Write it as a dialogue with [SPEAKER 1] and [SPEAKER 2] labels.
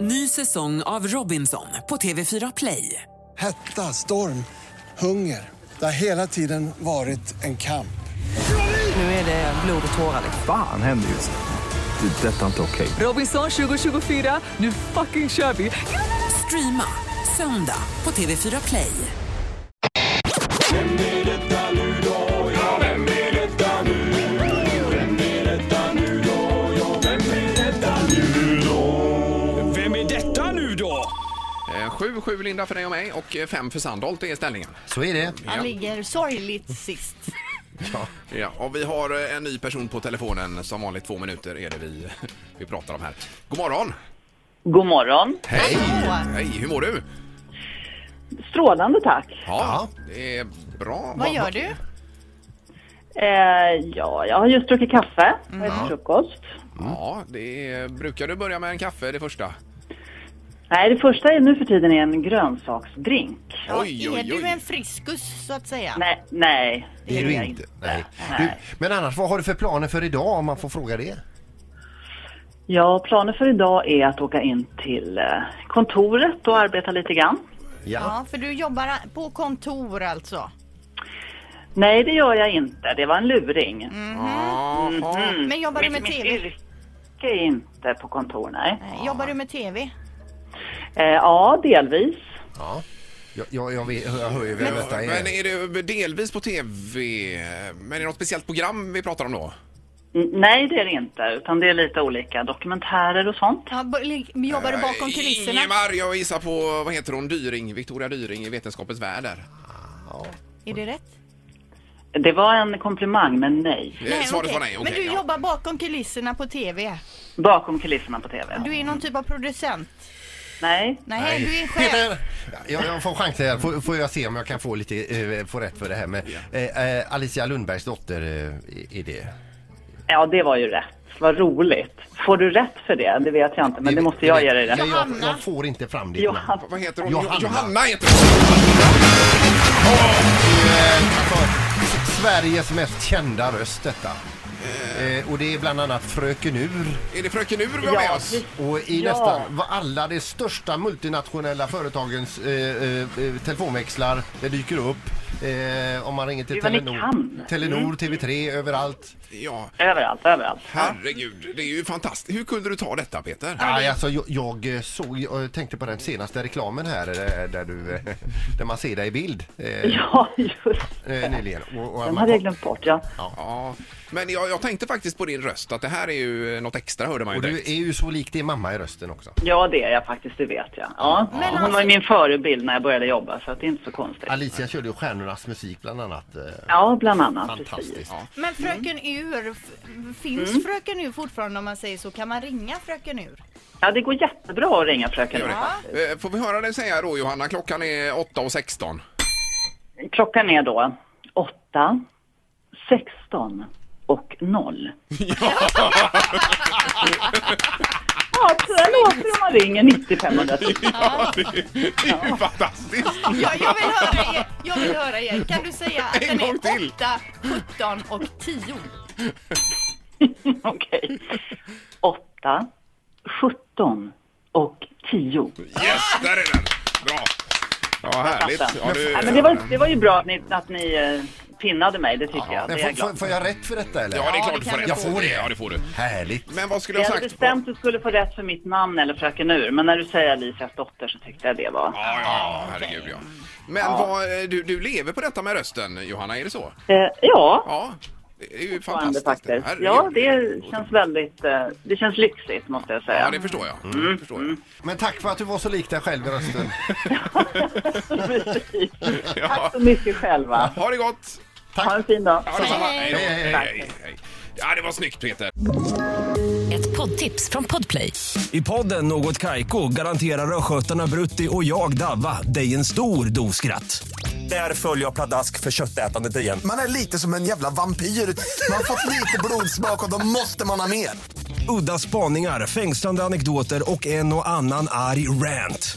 [SPEAKER 1] Ny säsong av Robinson på TV4 Play.
[SPEAKER 2] Hetta, storm, hunger. Det har hela tiden varit en kamp.
[SPEAKER 1] Nu är det blod och tårar. liksom.
[SPEAKER 3] Fan händer just nu. Det. är Detta är inte okej.
[SPEAKER 1] Robinson 2024, nu fucking kör vi! Streama söndag på TV4 Play.
[SPEAKER 4] Vem är detta nu då?
[SPEAKER 5] 7-7 Eh, Linda för dig och mig och 5 för Sandholt är ställningen.
[SPEAKER 6] Så är det.
[SPEAKER 5] Ja.
[SPEAKER 7] Han ligger sorgligt sist.
[SPEAKER 5] Ja, och vi har eh, en ny person på telefonen. Som vanligt två minuter är det vi, vi pratar om här. God morgon!
[SPEAKER 8] God morgon.
[SPEAKER 5] Hej! Hej, hur mår du?
[SPEAKER 8] Strålande tack.
[SPEAKER 5] Ja, det är bra.
[SPEAKER 7] Vad gör du?
[SPEAKER 8] Eh, ja, jag har just druckit kaffe och ätit frukost.
[SPEAKER 5] Ja, det är, brukar du börja med en kaffe det första?
[SPEAKER 8] Nej, det första är nu för tiden är en grönsaksdrink.
[SPEAKER 7] Ja,
[SPEAKER 5] Oj, oj,
[SPEAKER 7] är du
[SPEAKER 5] oj.
[SPEAKER 7] en friskus så att säga?
[SPEAKER 8] Nej, nej.
[SPEAKER 6] Det är du inte. Nej. Du, men annars, vad har du för planer för idag om man får fråga det?
[SPEAKER 8] Ja, planen för idag är att åka in till eh, kontoret och arbeta lite grann.
[SPEAKER 7] Ja, för du jobbar på kontor alltså.
[SPEAKER 8] Nej, det gör jag inte. Det var en luring.
[SPEAKER 5] Jaha.
[SPEAKER 7] Men jobbar du med
[SPEAKER 8] mitt
[SPEAKER 7] TV?
[SPEAKER 8] yrke är inte på kontor, nej.
[SPEAKER 7] Nej, Jobbar du med TV?
[SPEAKER 8] Eh, ja, delvis.
[SPEAKER 6] Ja. Jag, jag, jag, vet, jag hör ju vem detta
[SPEAKER 5] Men
[SPEAKER 6] är.
[SPEAKER 5] är det delvis på TV? Men är det något speciellt program vi pratar om då?
[SPEAKER 8] N- Nej, det är det inte. Utan det är lite olika dokumentärer och sånt.
[SPEAKER 7] Ja, bo- lig- jobbar du bakom kulisserna?
[SPEAKER 5] Ingemar, jag gissar på, vad heter hon, Dyring, Victoria Dyring i Vetenskapens värld där.
[SPEAKER 7] Är det rätt?
[SPEAKER 8] Det var en komplimang, men nej.
[SPEAKER 5] Eh, Svaret
[SPEAKER 7] okej.
[SPEAKER 5] var nej, okej.
[SPEAKER 7] Men du
[SPEAKER 5] ja.
[SPEAKER 7] jobbar bakom kulisserna på TV?
[SPEAKER 8] Bakom kulisserna på TV.
[SPEAKER 7] Du är någon typ av producent?
[SPEAKER 8] Nej,
[SPEAKER 7] Nej, du är chef.
[SPEAKER 6] Peter! Jag, jag får chans här. Får, får jag se om jag kan få lite, eh, få rätt för det här med eh, eh, Alicia Lundbergs dotter eh, är det.
[SPEAKER 8] Ja, det var ju rätt. Vad roligt. Får du rätt för det? Det vet jag inte, men det måste jag ge dig
[SPEAKER 6] Jag,
[SPEAKER 8] rätt.
[SPEAKER 6] jag, jag får inte fram ditt namn.
[SPEAKER 8] Johan,
[SPEAKER 5] Vad heter hon?
[SPEAKER 6] Johanna.
[SPEAKER 5] Johanna heter hon.
[SPEAKER 6] Sveriges mest kända röst detta. Eh, och det är bland annat Fröken Ur.
[SPEAKER 5] Är det Fröken Ur vi har med
[SPEAKER 8] ja,
[SPEAKER 5] oss?
[SPEAKER 8] precis.
[SPEAKER 6] Och i
[SPEAKER 8] Ja.
[SPEAKER 6] nästan va- alla de största multinationella företagens eh, eh, eh, telefonväxlar, det dyker upp. Eh, om man ringer till
[SPEAKER 8] Gud, vad ni
[SPEAKER 6] Telenor,
[SPEAKER 8] kan. Mm.
[SPEAKER 6] Telenor TV3, överallt.
[SPEAKER 5] Ja,
[SPEAKER 8] överallt, överallt.
[SPEAKER 5] herregud. Det är ju fantastiskt. Hur kunde du ta detta Peter?
[SPEAKER 6] Nej, alltså, jag, jag eh, såg, jag tänkte på den senaste reklamen här eh, där, du, eh, där man ser dig i bild eh,
[SPEAKER 8] Ja, just
[SPEAKER 6] eh,
[SPEAKER 8] det.
[SPEAKER 6] nyligen. Och, och
[SPEAKER 8] Den
[SPEAKER 6] man,
[SPEAKER 8] hade jag glömt bort, ja.
[SPEAKER 5] Ja, men jag, jag tänkte faktiskt på din röst att det här är ju något extra hörde man ju
[SPEAKER 6] och du
[SPEAKER 5] direkt.
[SPEAKER 6] är ju så lik din mamma i rösten också.
[SPEAKER 8] Ja, det är jag faktiskt, det vet jag. Ja.
[SPEAKER 7] Men
[SPEAKER 8] Hon var
[SPEAKER 7] alltså-
[SPEAKER 8] ju min förebild när jag började jobba, så att det är inte så konstigt.
[SPEAKER 6] Alicia körde ju Stjärnornas musik bland annat. eh,
[SPEAKER 8] Ja, bland annat. Precis.
[SPEAKER 6] Fantastiskt.
[SPEAKER 7] Men Fröken
[SPEAKER 5] Mm.
[SPEAKER 7] Ur, f- finns Fröken Ur fortfarande om man säger så? Kan man ringa Fröken Ur?
[SPEAKER 8] Ja, det går jättebra att ringa fröken. Ulf.
[SPEAKER 5] Eh, Får vi höra dig säga då Johanna, klockan är 8.16.
[SPEAKER 8] Klockan är då 8, 16 och 0. Ja, så här låter det om man ringer 90 510.
[SPEAKER 5] Ja, det, det är ju fantastiskt.
[SPEAKER 7] Ja, jag vill höra er. Jag vill höra er. Kan du säga att
[SPEAKER 5] En
[SPEAKER 7] den
[SPEAKER 5] gång
[SPEAKER 7] är
[SPEAKER 5] till.
[SPEAKER 7] 8, 17 och 10?
[SPEAKER 8] Okej. 8, 17 och 10.
[SPEAKER 5] Yes, där är den. Bra. Ja, härligt. Ja, du,
[SPEAKER 8] Nej, men det, var, det var ju bra att ni, att ni eh, pinnade mig, det tycker jag.
[SPEAKER 6] Men
[SPEAKER 8] Det är
[SPEAKER 6] får,
[SPEAKER 8] jag
[SPEAKER 6] får,
[SPEAKER 8] glad
[SPEAKER 6] får
[SPEAKER 8] för.
[SPEAKER 6] jag rätt för detta eller?
[SPEAKER 5] ja, det är
[SPEAKER 7] Ja,
[SPEAKER 5] klart
[SPEAKER 7] det
[SPEAKER 5] du
[SPEAKER 7] kan
[SPEAKER 5] får
[SPEAKER 7] du
[SPEAKER 5] det.
[SPEAKER 6] Jag får det.
[SPEAKER 5] Ja, det får du.
[SPEAKER 6] Härligt.
[SPEAKER 5] Men vad skulle
[SPEAKER 8] Jag
[SPEAKER 5] jag
[SPEAKER 8] hade
[SPEAKER 5] sagt?
[SPEAKER 8] bestämt att du skulle få rätt för mitt namn eller Fröken Ur, men när du säger Alicias dotter så tyckte jag det var...
[SPEAKER 5] Ja, ja, ja, herregud ja. Men vad, eh, du, du lever på detta med rösten Johanna, är det så?
[SPEAKER 8] Eh, ja,
[SPEAKER 5] Ja, det är ju
[SPEAKER 8] fortfarande
[SPEAKER 5] fantastiskt.
[SPEAKER 8] faktiskt.
[SPEAKER 5] Herregud.
[SPEAKER 8] Ja, det känns väldigt... Eh, det känns lyxigt, måste jag säga.
[SPEAKER 5] Ja, det förstår jag. Det Förstår jag.
[SPEAKER 6] Men tack för att du var så lik dig själv i rösten.
[SPEAKER 8] Precis.
[SPEAKER 5] Ja.
[SPEAKER 8] Tack så mycket själva.
[SPEAKER 5] Ha det gott!
[SPEAKER 8] Ha en fin dag.
[SPEAKER 5] Ja, detsamma.
[SPEAKER 7] Hej.
[SPEAKER 5] då.
[SPEAKER 6] Hej, hej,
[SPEAKER 5] hej, hej. Ja, det var snyggt Peter.
[SPEAKER 9] Ett poddtips från Podplay.
[SPEAKER 4] I podden Något Kaiko garanterar östgötarna Brutti och jag, Davva, dig en stor dos skratt. Där följer jag pladask för köttätandet igen.
[SPEAKER 10] Man är lite som en jävla vampyr. Man har fått lite blodsmak och då måste man ha mer.
[SPEAKER 4] Udda spaningar, fängslande anekdoter och en och annan arg rant.